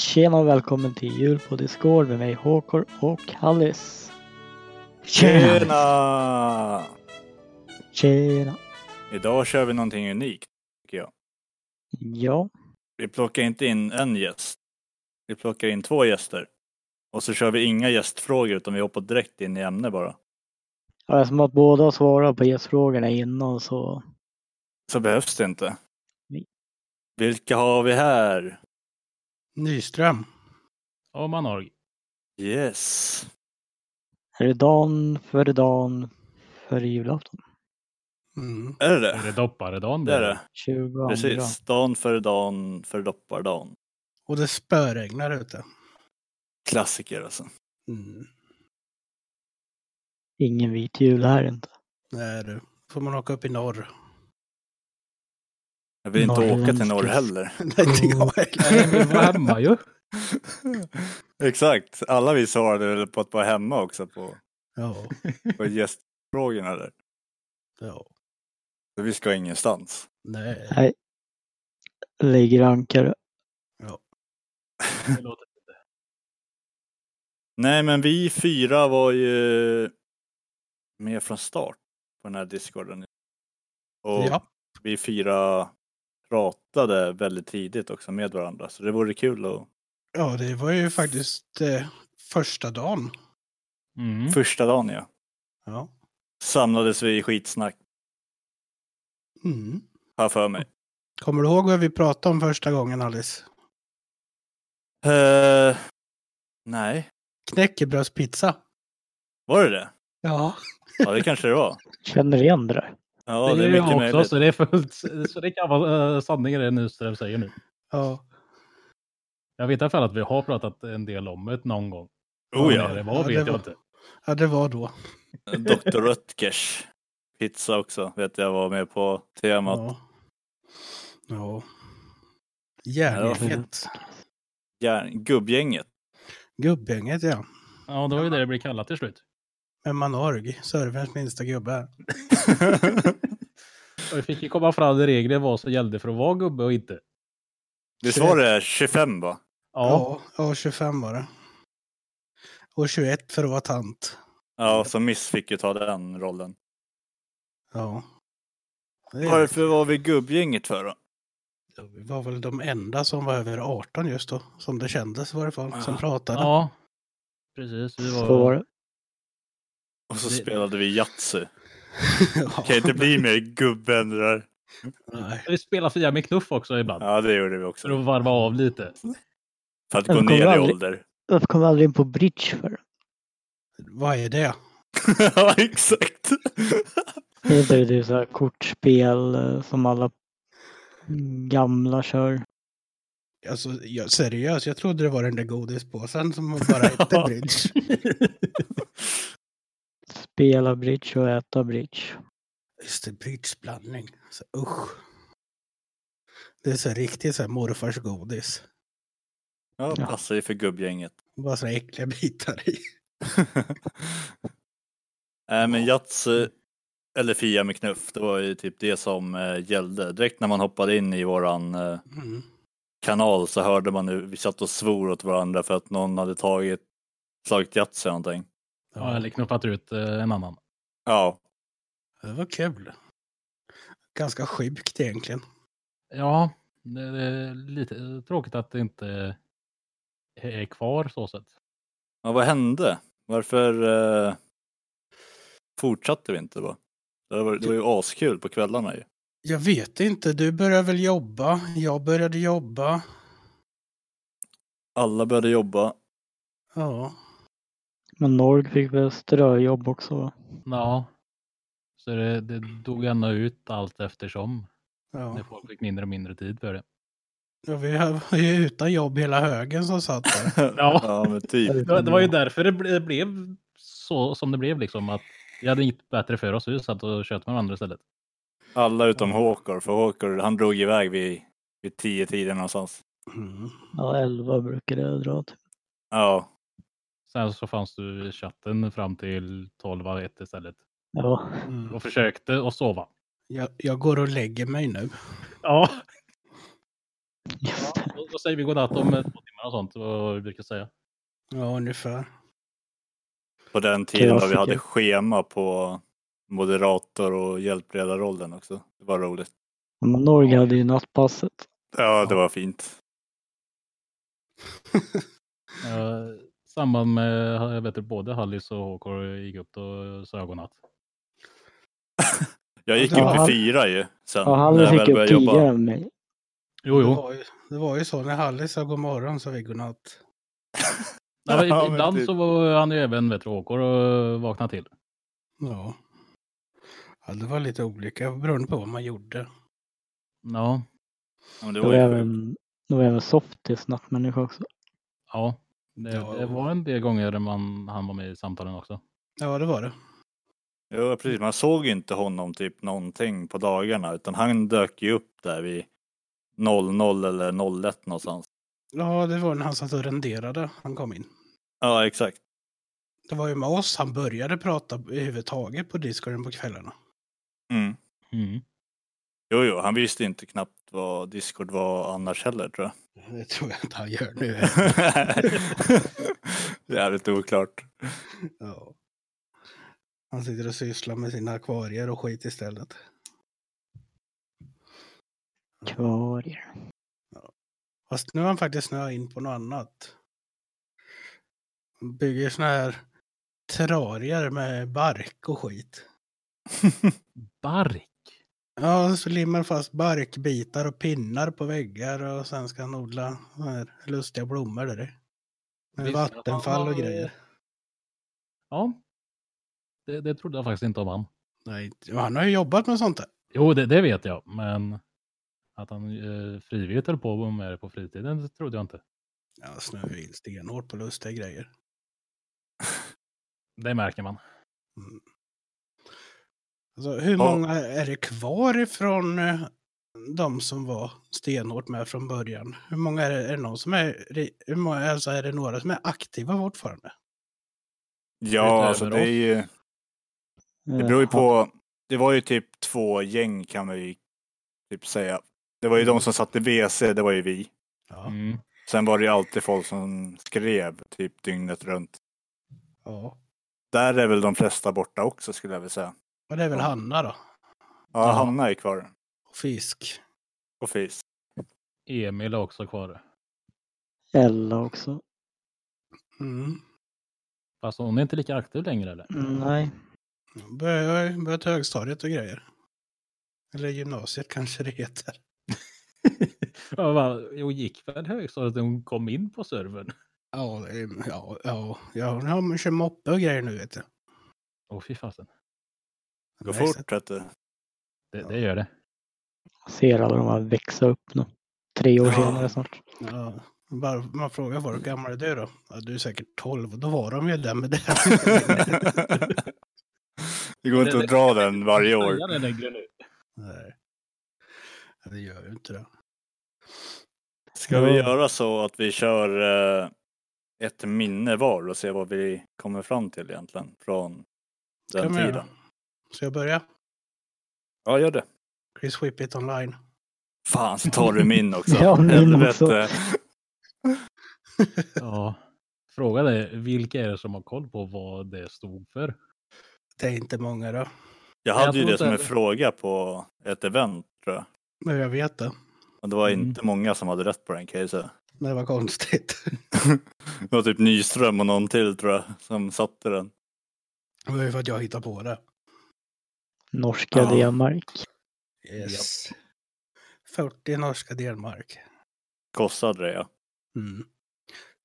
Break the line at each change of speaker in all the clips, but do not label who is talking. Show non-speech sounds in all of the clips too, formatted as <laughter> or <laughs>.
Tjena och välkommen till jul på Discord med mig Håkor och Hallis.
Tjena!
Tjena!
Idag kör vi någonting unikt, tycker jag.
Ja,
Vi plockar inte in en gäst. Vi plockar in två gäster. Och så kör vi inga gästfrågor utan vi hoppar direkt in i ämne bara.
ja, eftersom att båda svarar på gästfrågorna innan så
Så behövs det inte.
Nej.
Vilka har vi här?
Nyström.
Och Manorg.
Yes.
är det dagen före dagen före julafton.
Mm.
Är det
Är
det?
det dopparedagen?
Det är det.
22.
Precis. Dan före dan före doppardan.
Och det spöregnar ute.
Klassiker alltså.
Mm.
Ingen vit jul här inte.
Nej du, får man åka upp i norr. <laughs>
Jag vill inte åka till
Norrländsk
norr
kiss.
heller.
Nej, inte jag
Mm. Nej, vi var
heller.
hemma ju.
Exakt. Alla vi svarade väl på att vara hemma också på,
<laughs> ja,
på gästfrågorna där.
ja,
Så vi ska ingenstans.
nej.
Ligger ankare.
Det låter-
Nej, men vi fyra var ju med från start på den här discorden. Och
Ja,
vi fyra pratade väldigt tidigt också med varandra, så det vore kul att...
ja, det var ju faktiskt eh, första dagen.
Mm.
Första dagen ja,
Ja.
samlades vi i skitsnack,
Mm.
har jag för mig.
Kommer du ihåg vad vi pratade om första gången Alice?
Eh, nej,
Knäckebrödspizza.
var det det?
Ja.
Ja, det kanske det var.
Känner igen det där.
Ja, det
gör
är
jag
mycket
också,
möjligt.
så det, är fullt, så det kan vara eh, sanningen det Nyström säger nu.
Ja,
Jag vet i alla fall att vi har pratat en del om det någon gång.
Oh
Vad Det
ja,
var
Ja,
vet
det var-
jag inte.
ja det var då.
Dr. Rutgers pizza också, vet jag var med på temat.
Ja. ja.
Ja,
Järngänget.
Järn- Gubbgänget.
Gubbgänget ja.
Ja, det var ju det det blev kallat till slut.
Med Manorg, serverns minsta gubbe.
Och vi fick ju komma fram till regler vad som gällde för att vara gubbe och inte.
Visst var det 25 va?
Ja,
Ja, ja 25 var det. Och 21 för att vara tant.
Ja, så Miss fick ju ta den rollen.
Ja. Det
Varför var vi gubbgänget för då?
vi var väl de enda som var över 18 just då, som det kändes var det folk som
Ja.
pratade.
ja. precis. Vi
Så var
var...
det.
Och så
Det-
spelade vi Yatzy.
<laughs> Ja.
Kan inte bli mer gubben det där.
Nej.
Vi spelade Fia med knuff också ibland.
Ja, det gjorde vi
För
också.
att varva av lite.
För att
Jag
gå
kommer
ner i
aldrig-
ålder. <laughs>
Varför kom vi aldrig in på bridge för?
Vad är det?
ja, exakt.
Är inte det typ så här kortspel eh, som alla gamla kör?
Alltså, jag, seriöst, jag trodde det var den där godispåsen som
<laughs>
bara hette bridge.
Spela bridge och äta bridge.
Just det, bridgeblandning. Så, usch. Det är så riktigt så här morfars godis.
Ja,
Ja.
passar ju för gubbgänget. <laughs>
Bara så här äckliga bitar i.
Nej, Äh, men Yatzy eller Fia med knuff, det var ju typ det som eh, gällde. Direkt när man hoppade in i våran eh,
Mm.
kanal så hörde man nu, vi satt och svor åt varandra för att någon hade tagit, slagit Yatzy eller någonting.
Ja, eller knuffat ut eh, en annan.
Ja,
Det var kul. Ganska sjukt egentligen.
Ja, det det är lite tråkigt att det inte är kvar så sett.
Ja, vad hände? Varför eh, fortsatte vi inte då? Det var, det var ju askul på kvällarna ju.
Jag vet inte, du började väl jobba, jag började jobba.
Alla började jobba. <laughs>
Ja,
Men Norg fick väl ströjobb också va?
Ja. Så det, det dog ändå ut allt eftersom. När
ja.
folk fick mindre och mindre tid för det.
ja vi var ju utan jobb hela högen som satt
<laughs>
där.
Ja.
men typ.
Det, det var ju därför det, ble, det blev så som det blev liksom. Att vi hade inget bättre för oss. så Vi satt och tjöt med varandra istället.
Alla utom Håkor, för Håkor han drog iväg vid, vid tio tiden någonstans.
Mm.
Ja, 11 brukar det dra typ. till.
Ja,
Sen så fanns du i chatten fram till 12 1 istället.
Ja,
Mm.
Och försökte att sova.
Jag, jag går och lägger mig nu.
Ja.
just det.
Då, då säger vi godnatt om eh, två timmar. och sånt, vad vi brukar säga.
Ja, ungefär.
På den tiden då vi
Klassiker.
hade schema på moderator och hjälpredarrollen också. Det var roligt.
Ja, Men Norge hade ju nattpasset.
Ja, det var fint.
Eh, I samband med jag vet, inte, både Hallis och Håkor gick upp och sa jag godnatt.
Jag gick
Ja,
upp
han-
i fyra ju sen.
Ja,
när jag
han fick
väl
upp
började
tidigare än mig.
Jo,
Det,
jo.
var ju, det var ju så när Hallis sa god morgon så vi godnatt.
Nej, men
Ja, men
ibland
typ.
så var han ju även vet du, Håkor och vaknade till.
Ja. ja. Det var lite olika beroende på vad man gjorde.
Ja,
Ja, men det
Det
var
var
ju sjukt.
även, det var även softis nattmänniska också.
ja. Det,
Ja.
det var en del gånger man, han var med i samtalen också.
Ja, det var det.
Ja, precis. Man såg ju inte honom typ någonting på dagarna utan han dök ju upp där vid 00 eller 01 någonstans.
Ja, det var när han satt och renderade. Han kom in.
Ja, exakt.
Det var ju med oss han började prata överhuvudtaget på Discorden på kvällarna.
Mm.
Mm.
Jo, jo, han visste inte knappt vad Discord var annars heller tror jag.
Det tror jag inte han gör <laughs>
<laughs>
nu.
Jävligt oklart.
ja. Han sitter och sysslar med sina akvarier och skit istället.
Kvarier.
Fast nu har han faktiskt snöat in på något annat. Han bygger såna här terrarier med bark och skit.
Bark?
Ja, så limmar han fast barkbitar och pinnar på väggar och sen ska han odla såna här lustiga blommor där i. Med
Visst,
vattenfall och
han har-
grejer.
Ja. Det, det trodde jag faktiskt inte om han.
Nej, han har ju jobbat med sånt där.
Jo, det, det vet jag, men att han eh, frivilligt höll på med det på fritiden det trodde jag inte.
Ja, snöar in stenhårt på lustiga grejer.
Det märker man.
Mm. Alltså, hur
Ja.
många är det kvar ifrån eh, de som var stenhårt med från början? Hur många är det, är det någon som är, hur många, alltså är det några som är aktiva fortfarande?
<laughs> Ja, alltså det är ju... Det beror ju på. Det var ju typ två gäng kan man ju typ säga. Det var ju de som satte WC, det var ju vi.
Ja.
Mm.
Sen var det ju alltid folk som skrev typ dygnet runt.
ja.
Där är väl de flesta borta också skulle jag vilja säga.
Och det är väl
Ja.
Hanna då?
Ja,
Ja.
Hanna är kvar.
Och Fisk.
Och Fis.
Emil är också kvar.
Eh, Ella också.
Mm.
Fast hon är inte lika aktiv längre eller?
Mm, Nej.
Börjar, börjar till högstadiet och grejer. Eller gymnasiet kanske det heter.
Jag bara, hon gick väl högstadiet när hon kom in på servern?
Ja, det är- ja, ja, ja, ja, man kör moppe och grejer nu vet du.
Åh fy fasen.
Gå
Nej, så-
fort vet du.
Det,
Ja.
det gör det.
Jag Ser alla de här växa upp nu. Tre år
Ja.
senare snart.
Ja, bara, man frågar folk, hur gammal är du då? Ja, du är säkert 12, då var de ju där med det.
<laughs> Det går inte att dra den varje år.
Säga det längre nu.
Nej. Ja, Det gör ju inte det.
Ska vi göra så att vi kör eh, ett minne var och se vad vi kommer fram till egentligen från
Kan
den
man göra.
tiden?
Så jag börjar.
Ja, gör det.
Chris Whippet online.
Fan, så tar du min också.
Ja, min också.
Helvete.
Ja. Frågan är, vilka är det som har koll på vad det stod för?
Det är inte många då.
Jag
Jag
hade ju
tror
det
inte
som en
heller.
fråga på ett event tror jag.
Men jag vet det.
Och det var
Mm.
inte många som hade rätt på den kan jag säga.
Det var konstigt. <laughs>
Det var typ Nyström och någon till tror jag som satte den.
Det var ju för att jag hittade på det.
Norska
Ja.
D-mark.
Yes. 40 norska delmark.
Kossade det ja. <laughs>
Mm.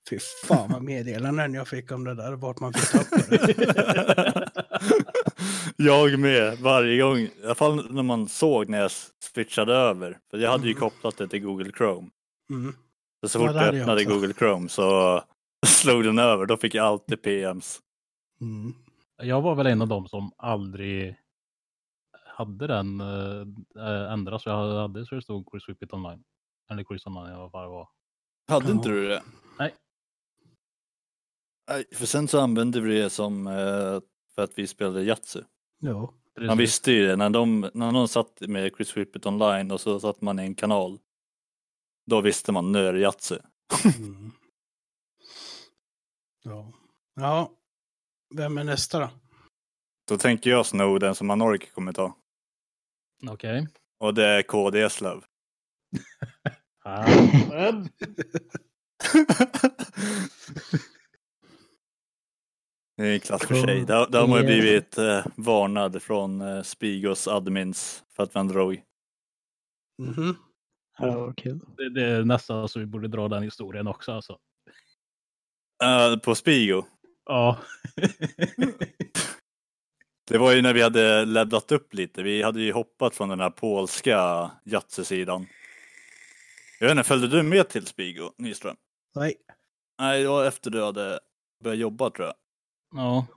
Fy fan vad meddelanden jag fick om det där, vart man fick upp på det. <laughs>
jag med varje gång. I alla fall när man såg när jag switchade över. För jag hade ju
Mm.
kopplat det till Google Chrome.
Mm.
Så, så
Ja,
fort
det
jag
hade jag
öppnade
också.
Google Chrome så <laughs> slog den över. Då fick jag alltid PMs.
Mm.
Jag var väl en av dem som aldrig hade den eh, ändras. Jag hade så det stod Chris Whippet online. Eller Chris online, vad fan det var.
Hade
Ja.
inte du det?
Nej.
Nej, för sen så använde vi det som eh, för att vi spelade Yatzy.
Jo.
Man visste ju det, när, de, när någon satt med Chris Whippet online och så satt man i en kanal. Då visste man, nu är det Yatzy.
Mm. Ja. ja. Vem är nästa då?
Då tänker jag sno den som Anork kommer ta.
Okej.
Och det är KD Eslöv.
Ah.
Det är en klass för sig. Där, där har man ju blivit eh, varnad från eh, Spigos admins för att man drog.
Mhm.
Ja, vad kul.
Det, det är nästan så vi borde dra den historien också alltså.
Eh, på Spigo.
Ja.
Det var ju när vi hade levlat upp lite. Vi hade ju hoppat från den här polska Yatzy-sidan. Jag vet inte, följde du med till Spigo Nyström?
Nej.
Nej, det var efter du hade börjat jobba tror jag.
ja.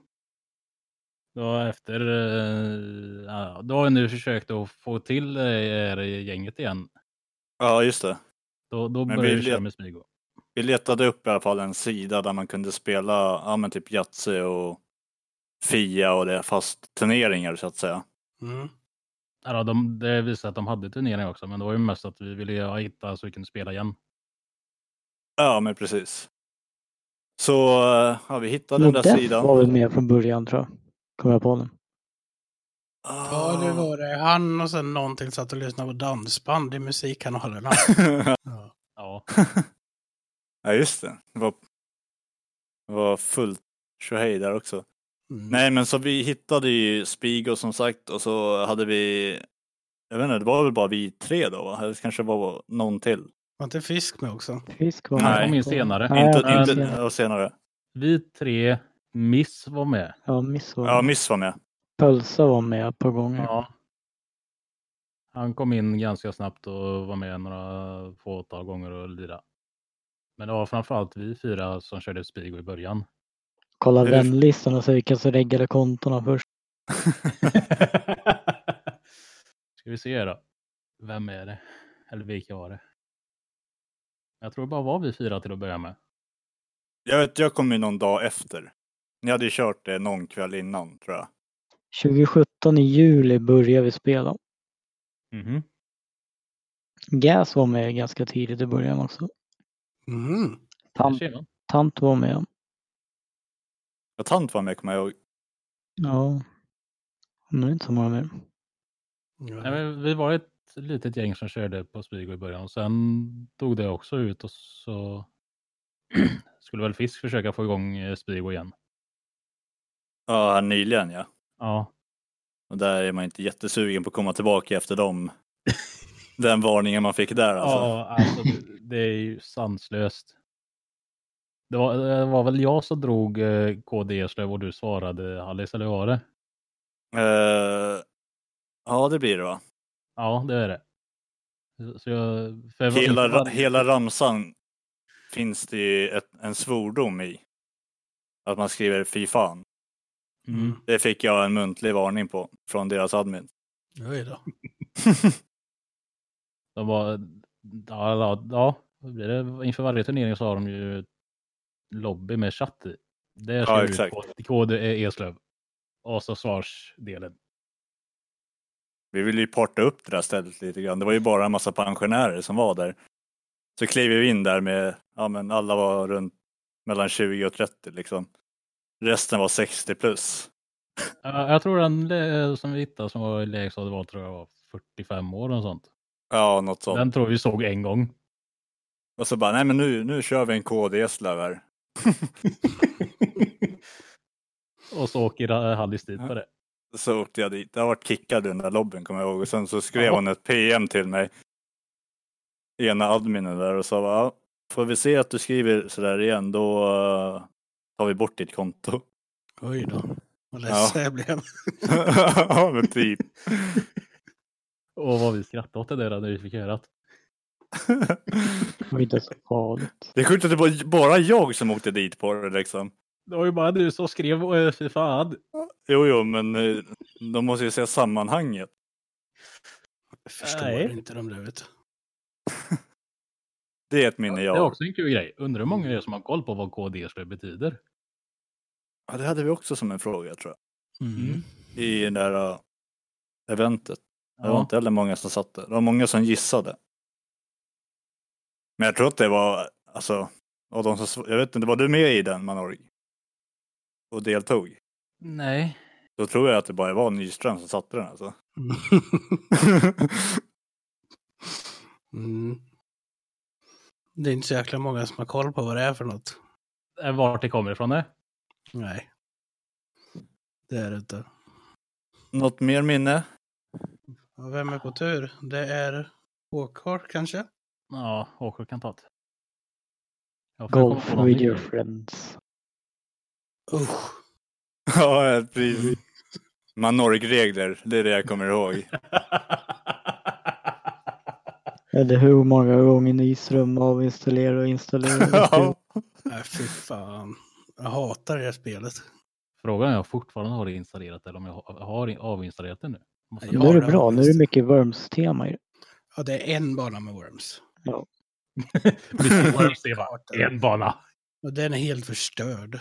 Det var efter... eh, Ja, då har jag nu försökt att få till eh, er i gänget igen.
Ja, just det.
Då, då
Men vi
började vi köra
let-
med Smygo.
Vi letade upp i alla fall en sida där man kunde spela ja, men typ Yatzy och Fia och det, fast turneringar så att säga.
Mm.
Ja, då, de, det visade att de hade turneringar också, men det var ju mest att vi ville ja, hitta så vi kunde spela igen.
Ja, men precis. Så eh, ja, vi hittade den där
Nodde
sidan.
var väl med från början tror jag. Kommer jag på nu.
Ja, det
Ah.
var det. Han och sen någon till satt och lyssnade på dansband i musikkanalerna. <laughs> ja.
Ja,
Ja, just det. Det var, det var fullt tjohej där också.
Mm.
Nej, men så vi hittade ju Spigo som sagt och så hade vi, jag vet inte, det var väl bara vi tre då? Va? Eller kanske var någon till?
Var inte fisk med också?
Fisk var
Nej.
han kom in
med.
senare.
Nej,
inte,
men-
inte och senare.
Vi tre, Miss var med.
Ja, Miss var
Ja,
med.
Miss var med.
Pölsa var med ett par gånger.
Ja. Han kom in ganska snabbt och var med några fåtal gånger och lira. Men det var framförallt vi fyra som körde Spigo i början.
Kolla
Det är-
vänlistan och så vilka som reggade kontona först.
Ska vi se då. Vem är det? Eller vilka var det? Jag tror det bara var vi fyra till att börja med.
Jag vet, jag kom ju någon dag efter. Ni hade ju kört det någon kväll innan tror jag.
2017 i juli började vi spela. Gas var med ganska tidigt i början också.
Mhm.
Tant,
Där ser man.
tant var med.
Ja, tant var med kommer jag ihåg.
Ja. Nu är det inte så många mer.
Nej, men vi var ett litet gäng som körde på Spigo i början. Sen tog det också ut och så <clears throat> skulle väl Fisk försöka få igång eh, Spigo igen.
Ja, nyligen ja.
Ja,
Och där är man inte jättesugen på att komma tillbaka efter dem. Den varningen man fick där alltså.
ja alltså det, det är ju sanslöst. Det var, eh, det var väl jag som drog eh, KD Eslöv och du svarade Alice, eller hur var det?
Eh, ja, det blir det va?
Ja, det är det. Så jag, för jag var-
Hela, ra-
var-
hela ramsan finns det ju ett, en svordom i. Att man skriver fy fan.
Mm.
Det fick jag en muntlig varning på från deras admin. <laughs>
Mm. Oj då.
De var, ja, ja, ja, vad blir det? inför varje turnering så har de ju lobby med chatt i. Det
Ja,
ser
exakt.
ut kod är E Eslöv. Och så svarsdelen.
Vi ville ju parta upp det där stället lite grann. Det var ju bara en massa pensionärer som var där. Så klev vi in där med, ja men alla var runt mellan 20 och 30 liksom. Resten var 60 plus.
Ja, Jag tror den eh, som vi hittade som var i lägstadiet var tror jag var 45 år och sånt.
Ja, något sånt.
Den tror vi såg en gång.
Och så bara, nej men nu, nu kör vi en KD Eslöv här.
och så åker eh, Hallis dit på det.
Så åkte jag dit. Jag varit kickad i den där lobbyn kommer jag ihåg. Och sen så skrev
Ja.
hon ett PM till mig. Ena adminen där och sa, ja, får vi se att du skriver sådär igen då eh, tar vi bort ditt konto. <laughs>
Oj då. Vad ledsen jag <laughs> blev.
ja men typ.
Och vad vi skrattade åt det där när vi fick höra att
Det var inte så farligt.
Det är sjukt att det var bara jag som åkte dit på det liksom.
det var ju bara du som skrev eh, fy fan.
Jo, jo, men eh, de måste ju se sammanhanget.
Jag förstår
Nej.
inte de där vet du.
Det är ett minne
Det är
jag.
också en kul grej. Undrar hur många det är som har koll på vad KD Eslöv betyder.
Ja, det hade vi också som en fråga tror
Mm.
jag. I det där eh, eventet. Det var
Ja.
inte heller många som satt där. Det var många som gissade. Men jag tror att det var, alltså, av de som, sv- jag vet inte, var du med i den Manorg? och deltog,
Nej.
då tror jag att det bara var Nyström som satte den alltså. <laughs>
Mm. Det är inte så jäkla många som har koll på vad det är för något.
Eh, Vart det kommer ifrån det?
Nej. Det är det inte.
Något mer minne?
Och Vem är på tur? Det är Håkart kanske?
Ja, Håkan kan ta det. Jag får komma
Golf
på någon
with
ny.
your friends.
Usch.
<laughs> ja, precis. Manorkregler, det är det jag kommer ihåg.
Eller hur många gånger Nyström avinstallerar och installerar.
<laughs> <laughs> ja.
Nej, fy fan. Jag hatar det här spelet.
<laughs> Frågan är om jag fortfarande har det installerat eller om jag har- har in- avinstallerat det nu. Måste
Nej,
Nu
jag-
jag-
är det
det
bra,
har
nu är det mycket Worms-tema i det.
Ja, det är en bana med Worms.
Vi får väl
<laughs>
se, va? En bana.
Och den är helt förstörd.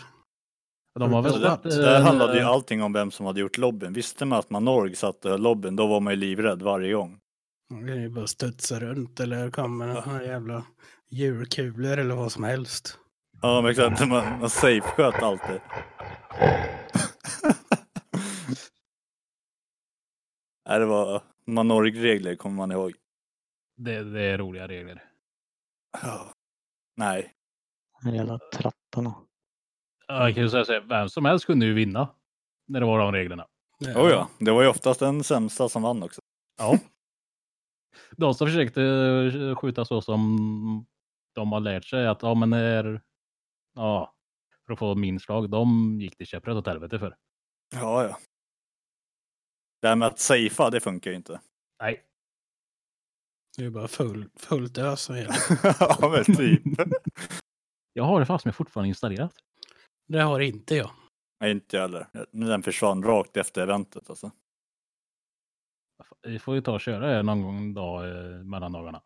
De har
Det
väl
Alltså, Det,
eh,
det handlade ju allting om vem som hade gjort lobben. Visste man att Manorg satt och höll lobben, då var man ju livrädd varje gång.
Man kan ju bara studsa runt eller komma med några jävla djurkulor eller vad som helst.
Ja, men exakt. Man, man safe-sköt alltid. <laughs> Nej, det var Manorg-regler, kommer man ihåg.
det, det är roliga regler.
Ja. Nej.
De jävla trattarna.
Ja, Jag kan ju säga så här, vem som helst kunde ju vinna när det var de reglerna.
Oh, ja. Det var ju oftast den sämsta som vann också.
Ja. <laughs> De som försökte eh, skjuta så som de har lärt sig att ja men när, ja, för att få minst slag, de gick det käpprätt åt helvete för.
Ja, ja. Det här med att safea, det funkar ju <laughs> inte.
Nej,
Det är bara full, fullt ös som gäller.
ja, men typ.
<laughs> jag har det fast men fortfarande installerat.
Det har inte jag.
Nej, inte jag heller. Den försvann rakt efter eventet alltså.
Vi får ju ta och köra det någon gång en dag eh, mellan dagarna.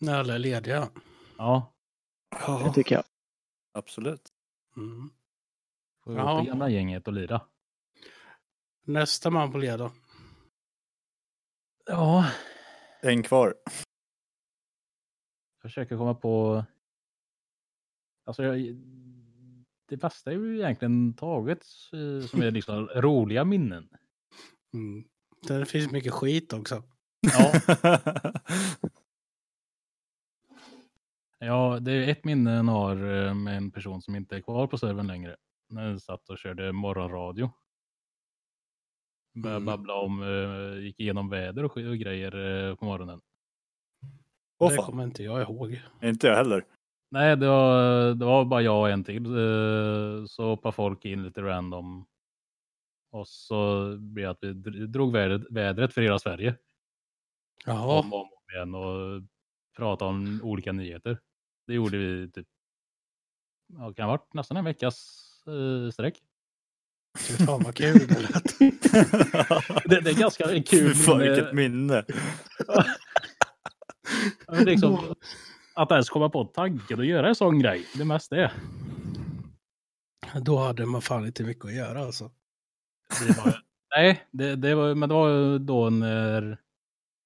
När alla är lediga.
Ja,
Det
Ja.
tycker jag.
Absolut.
Mm.
får vi
Jaha.
ihop det gamla gänget och lira.
Nästa man på led då.
Ja,
En kvar.
försöker komma på. Alltså, jag... det bästa är ju egentligen taget eh, som är liksom roliga minnen.
Mm. Det finns mycket skit också.
Ja, ja det är ett minne jag har eh, med en person som inte är kvar på servern längre. När jag satt och körde morgonradio. Började
Mm.
babbla om, eh, gick igenom väder och, sk- och grejer eh, på morgonen.
<laughs> Åh
det
fan.
kommer inte jag ihåg.
Inte jag <laughs> heller.
Nej, det var, det var bara jag och en till. eh, Så hoppade folk in lite random. Och så blev det att vi dr- drog vädret, vädret för hela Sverige.
Jaha.
Om och om igen och pratade om olika nyheter. Det gjorde vi typ, ja, det kan ha varit nästan en veckas eh, sträck.
Fy fan vad kul det lät.
Det, det är ganska
<laughs>
kul.
Fy fan,
men, eh,
vilket minne.
men liksom, att ens komma på tanken och göra en sån grej. Det mesta är.
Då hade man fan inte mycket att göra alltså.
Det var, nej, det, det var, men det var ju då när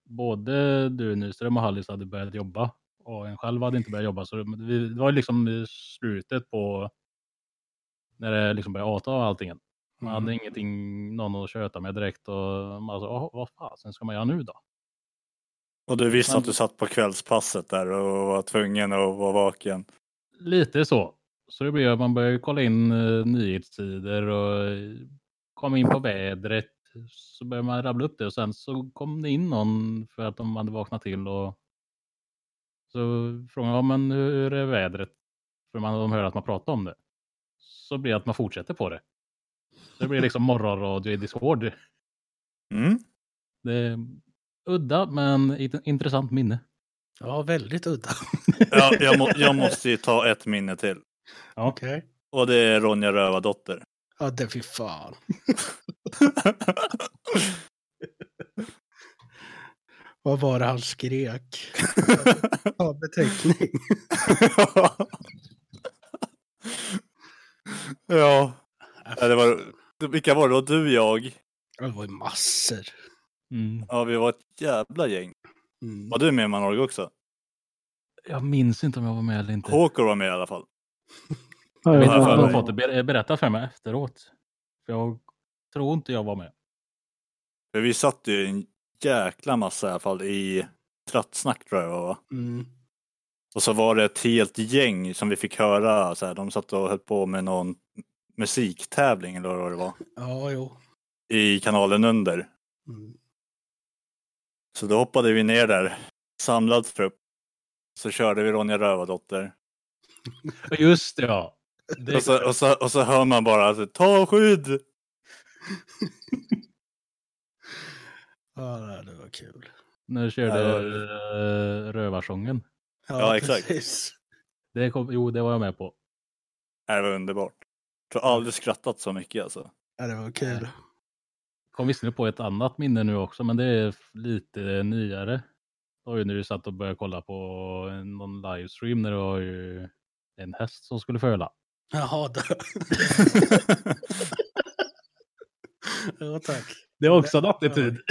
både du Nyström och Hallis hade börjat jobba och en själv hade inte börjat jobba. Så det, vi- det var ju liksom i slutet på när det liksom började avta och allting. Man
Mm.
Mm.
hade ingenting, någon att köta med direkt och man sa, "Jaha, vad fasen ska man göra nu då?
Och du visste
Men-
att du satt på kvällspasset där och var tvungen att vara vaken.
Lite så. Så det blev att man började kolla in eh, nyhetssidor och eh, kom in på vädret. Så började man rabbla upp det och sen så kom det in någon för att de hade vaknat till och så frågade jag men hur är vädret? För man, de hör att man pratar om det. Så blir det att man fortsätter på det. Så det blir liksom morgonradio i Discord.
Mm?
Det är udda men int- intressant minne.
Ja, väldigt udda.
Ja, jag,
<laughs>
må, <laughs> jag måste ju ta ett minne till.
Okej.
Och det är Ronja Rövardotter.
Ja, det fy fan. Vad var det han skrek? <laughs> Ja, beteckning.
<laughs> ja, Ja, det var, vilka var det då? Du, jag.
Ja, det var ju massor.
Mm.
Ja, vi var ett jävla gäng.
Mm.
Var du med i Manorg också?
Jag minns inte om jag var med eller inte.
Håkor var med i alla fall.
Ja,
Jag vet
har
inte om
för
de
mig.
fått det ber- eh, berätta för mig efteråt. För jag tror inte jag var med.
För vi satt ju en jäkla massa i alla fall i Trattsnack tror jag det var.
Mm.
Och så var det ett helt gäng som vi fick höra, så här, de satt och höll på med någon musiktävling eller vad det var,
Ja, jo.
i kanalen under.
Mm.
Så då hoppade vi ner där, samlad trupp. Så körde vi Ronja Rövardotter.
Ja, Just det, ja. Det,
Och så, och, så, och så hör man bara alltså, ta skydd!
Ja, nej, det var kul.
När du körde
Ja, det
eh, rövarsången.
Ja, exakt.
precis.
Det kom, jo, det var jag med på.
Det var underbart. Jag har aldrig skrattat så mycket alltså.
Ja, det var kul.
Kom visserligen på ett annat minne nu också, men det är f- lite nyare. Det var ju när du satt och började kolla på eh, någon livestream när det var ju en häst som skulle föla.
Jaha, då. <laughs> ja, tack.
Det
var
var
också
också
en
en
attityd.
attityd.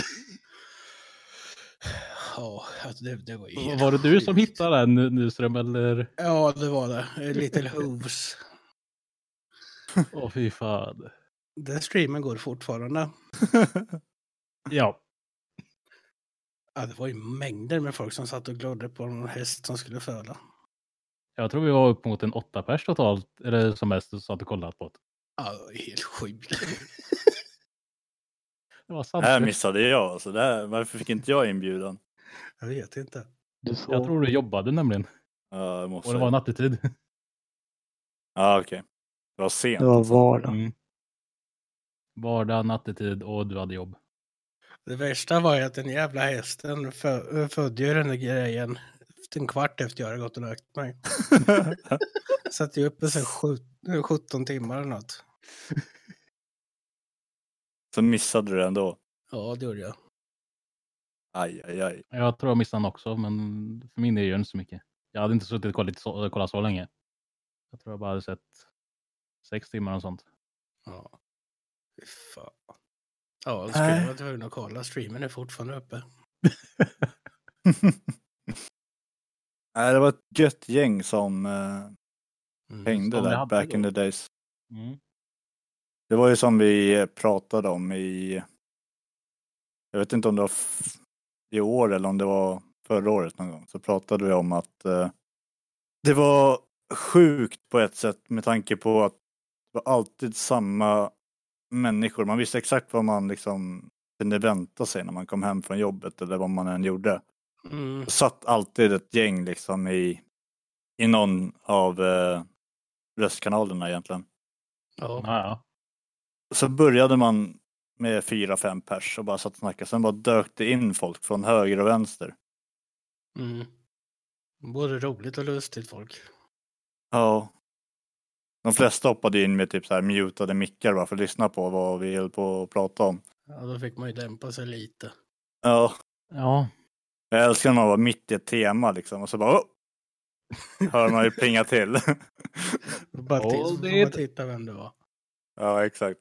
Ja, alltså det, det var ju helt
Var det du som
sjukt.
hittade den Nyström eller?
Ja, det var det. Little Hooves.
Åh fy fan.
Den streamen går fortfarande.
Ja,
Ja, det var ju mängder med folk som satt och glodde på någon häst som skulle föda.
jag tror vi var upp mot en åtta pers totalt, eller som mest, som satt och kollat på det.
Ja, det var helt sjukt.
Det var
Det
sant.
här missade jag alltså. Det här, varför fick inte jag inbjudan?
<laughs> Jag vet inte.
Du såg.
Jag tror du jobbade nämligen,
Ja, jag måste...
och det var en attityd.
Ja, okej. Det var sent.
det var vardag.
<laughs> Mm. Vardag, nattetid och du hade jobb.
Det värsta var ju att den jävla hästen fö- födde ju den där grejen en kvart efter jag hade gått och lagt mig. Satt ju uppe sen sju- 17 timmar eller något.
<laughs> Så missade du det ändå.
Ja, det gjorde jag.
Aj, aj, aj.
Jag tror jag missade den också, men för min del gör det inte så mycket. Jag hade inte suttit och kollat så, kollat så länge. Jag tror jag bara hade sett sex timmar och sånt.
Ja. Fy fan. Äh. Ja, då
Nej.
skulle jag tvungen att kolla. Streamen är fortfarande uppe.
<laughs> Nej, det var ett gött gäng som eh,
Mm.
hängde
Som vi
där
hade
back in
då.
the days.
Mm.
Det var ju som vi eh, pratade om i... Jag vet inte om det var f- i år eller om det var förra året någon gång. Så pratade vi om att eh, det var sjukt på ett sätt med tanke på att det var alltid samma människor. Man visste exakt vad man liksom kunde vänta sig när man kom hem från jobbet eller vad man än gjorde.
Mm.
satt alltid ett gäng liksom i, i någon av eh, röstkanalerna egentligen.
Ja.
Ja, ja.
Så började man med fyra, fem pers och bara satt och snackade. Sen bara dök det in folk från höger och vänster.
Mm. Både roligt och lustigt folk.
Ja. De flesta hoppade in med typ så här mutade mickar bara för att lyssna på vad vi höll på att prata om.
Ja, då fick man ju dämpa sig lite.
Ja.
ja.
Jag älskar när man var mitt i ett tema liksom och så bara oh! Hör man ju plinga till. <laughs>
Då bara till, så
Hold
får man
it.
titta vem det var.
ja, exakt.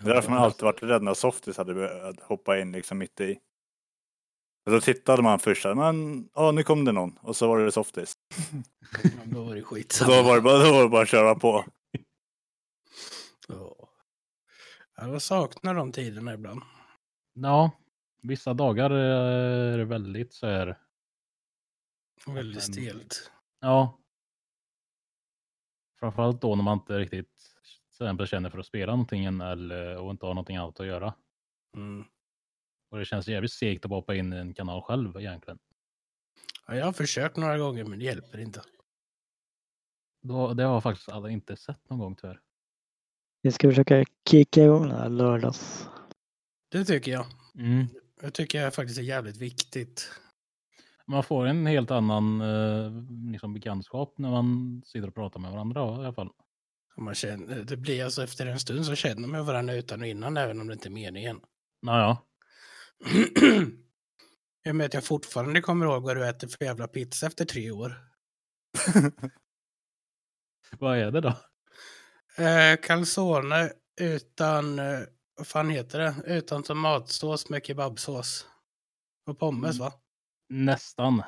Det är därför man alltid varit rädd när softis hade börjat hoppa in liksom mitt i. Och då tittade man först så här, men ja nu kom det någon och så var det softis.
Ja, <laughs> Då var det
Så
skitsamma.
då var det bara, då var det bara att köra <laughs> på.
Ja. Ja, Jag saknar de tiderna ibland.
ja, vissa dagar eh, är det väldigt så här.
Väldigt
men-
stelt.
Ja. Framförallt då när man inte riktigt till exempel känner för att spela någonting än eller, och inte har någonting annat att göra.
Mm.
Och det känns jävligt segt att bara hoppa in i en kanal själv egentligen.
Ja, jag har försökt några gånger men det hjälper inte.
Då, det har jag faktiskt alla inte sett någon gång tyvärr.
Vi ska försöka kicka igång den här lördags.
Det tycker jag.
Mm.
Jag tycker jag faktiskt är jävligt viktigt.
Man får en helt annan eh, liksom, bekantskap när man sitter och pratar med varandra i alla fall.
Och Man känner, det blir alltså efter en stund så känner man varandra utan och innan även om det inte är meningen. <clears throat>
Naja,
I och med att jag fortfarande kommer ihåg vad du äter för jävla pizza efter tre år.
vad är det då?
Eh, calzone utan, eh, vad fan heter det, utan tomatsås med kebabsås. Och pommes va?
Nästan.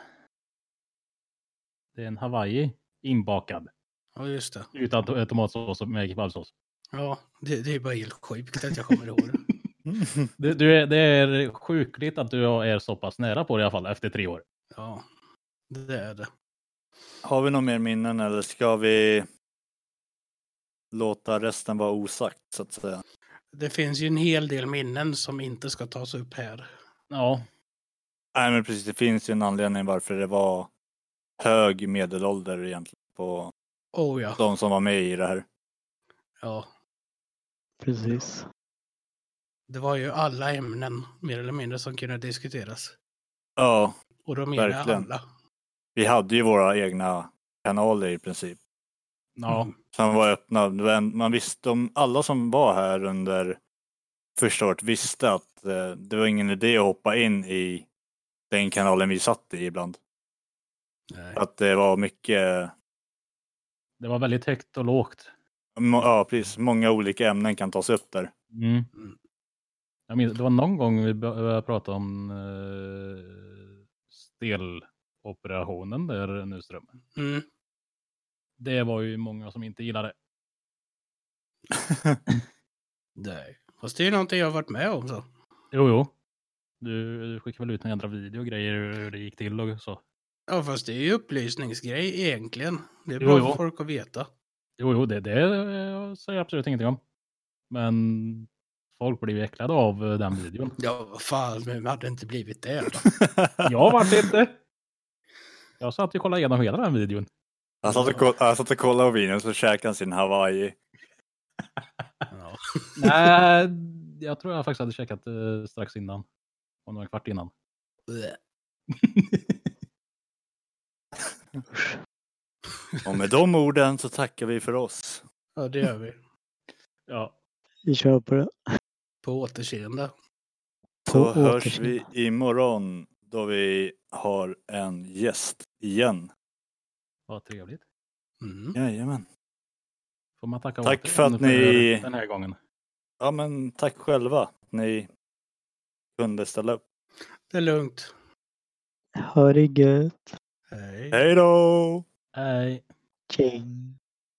Det är en hawaii inbakad.
Ja, just det.
Utan to- tomatsås och med kebabsås.
Ja, det, det är bara helt sjukt att jag kommer ihåg det.
Du, du är, det är sjukligt att du är så pass nära på det i alla fall efter tre år.
Ja, det är det.
Har vi några mer minnen eller ska vi låta resten vara osagt så att säga?
Det finns ju en hel del minnen som inte ska tas upp här.
Ja,
Nej men precis, det finns ju en anledning varför det var hög medelålder egentligen på
Oh ja,
de som var med i det här.
ja.
Precis.
Det var ju alla ämnen, mer eller mindre, som kunde diskuteras.
Ja,
Och då menar jag
Verkligen.
alla.
vi hade ju våra egna kanaler i princip.
ja.
Mm.
Som var öppna. Men Man visste om alla som var här under första året visste att eh, det var ingen idé att hoppa in i den kanalen vi satt i ibland.
Nej.
Att det var mycket,
det var väldigt högt och lågt.
må- ja precis, många olika ämnen kan tas upp där.
Mm.
Mm.
Jag minns, det var någon gång vi bör- började prata om uh, steloperationen där Nyström.
Mm.
Det var ju många som inte gillade.
Nej. Fast det är ju någonting jag har varit med om så.
Jo, jo. Du, du skickade väl ut en jädra video och grejer hur det gick till och så.
Ja, fast det är ju upplysningsgrej egentligen. Det är
Jo,
bra
jo.
för folk att veta.
Jo, jo, det, det eh, säger jag absolut ingenting om. Men folk blev ju äcklade av eh, den videon.
Ja, vad fan, men hade inte blivit det då?
Jag vart inte. Jag satt och kollade igenom hela den videon.
Jag satt och, koll- jag satt och kollade på videon så käkade han sin Hawaii.
<laughs> Ja.
Nej, jag tror jag faktiskt hade käkat eh, strax innan. Om det var en kvart innan.
Blä.
Usch.
Och med de orden så tackar vi för oss.
ja, det gör vi.
Ja.
Vi kör på det.
På återseende.
Så
På
hörs vi
återseende.
imorgon då vi har en gäst igen.
Vad trevligt.
Mm.
Jajamän.
Får man tacka
Tack
återigen
för att ni-
den här gången.
Ja men tack själva att ni kunde ställa upp.
Det är lugnt.
Ha det gött.
Hej.
Hej då!
Hej.
Tjing.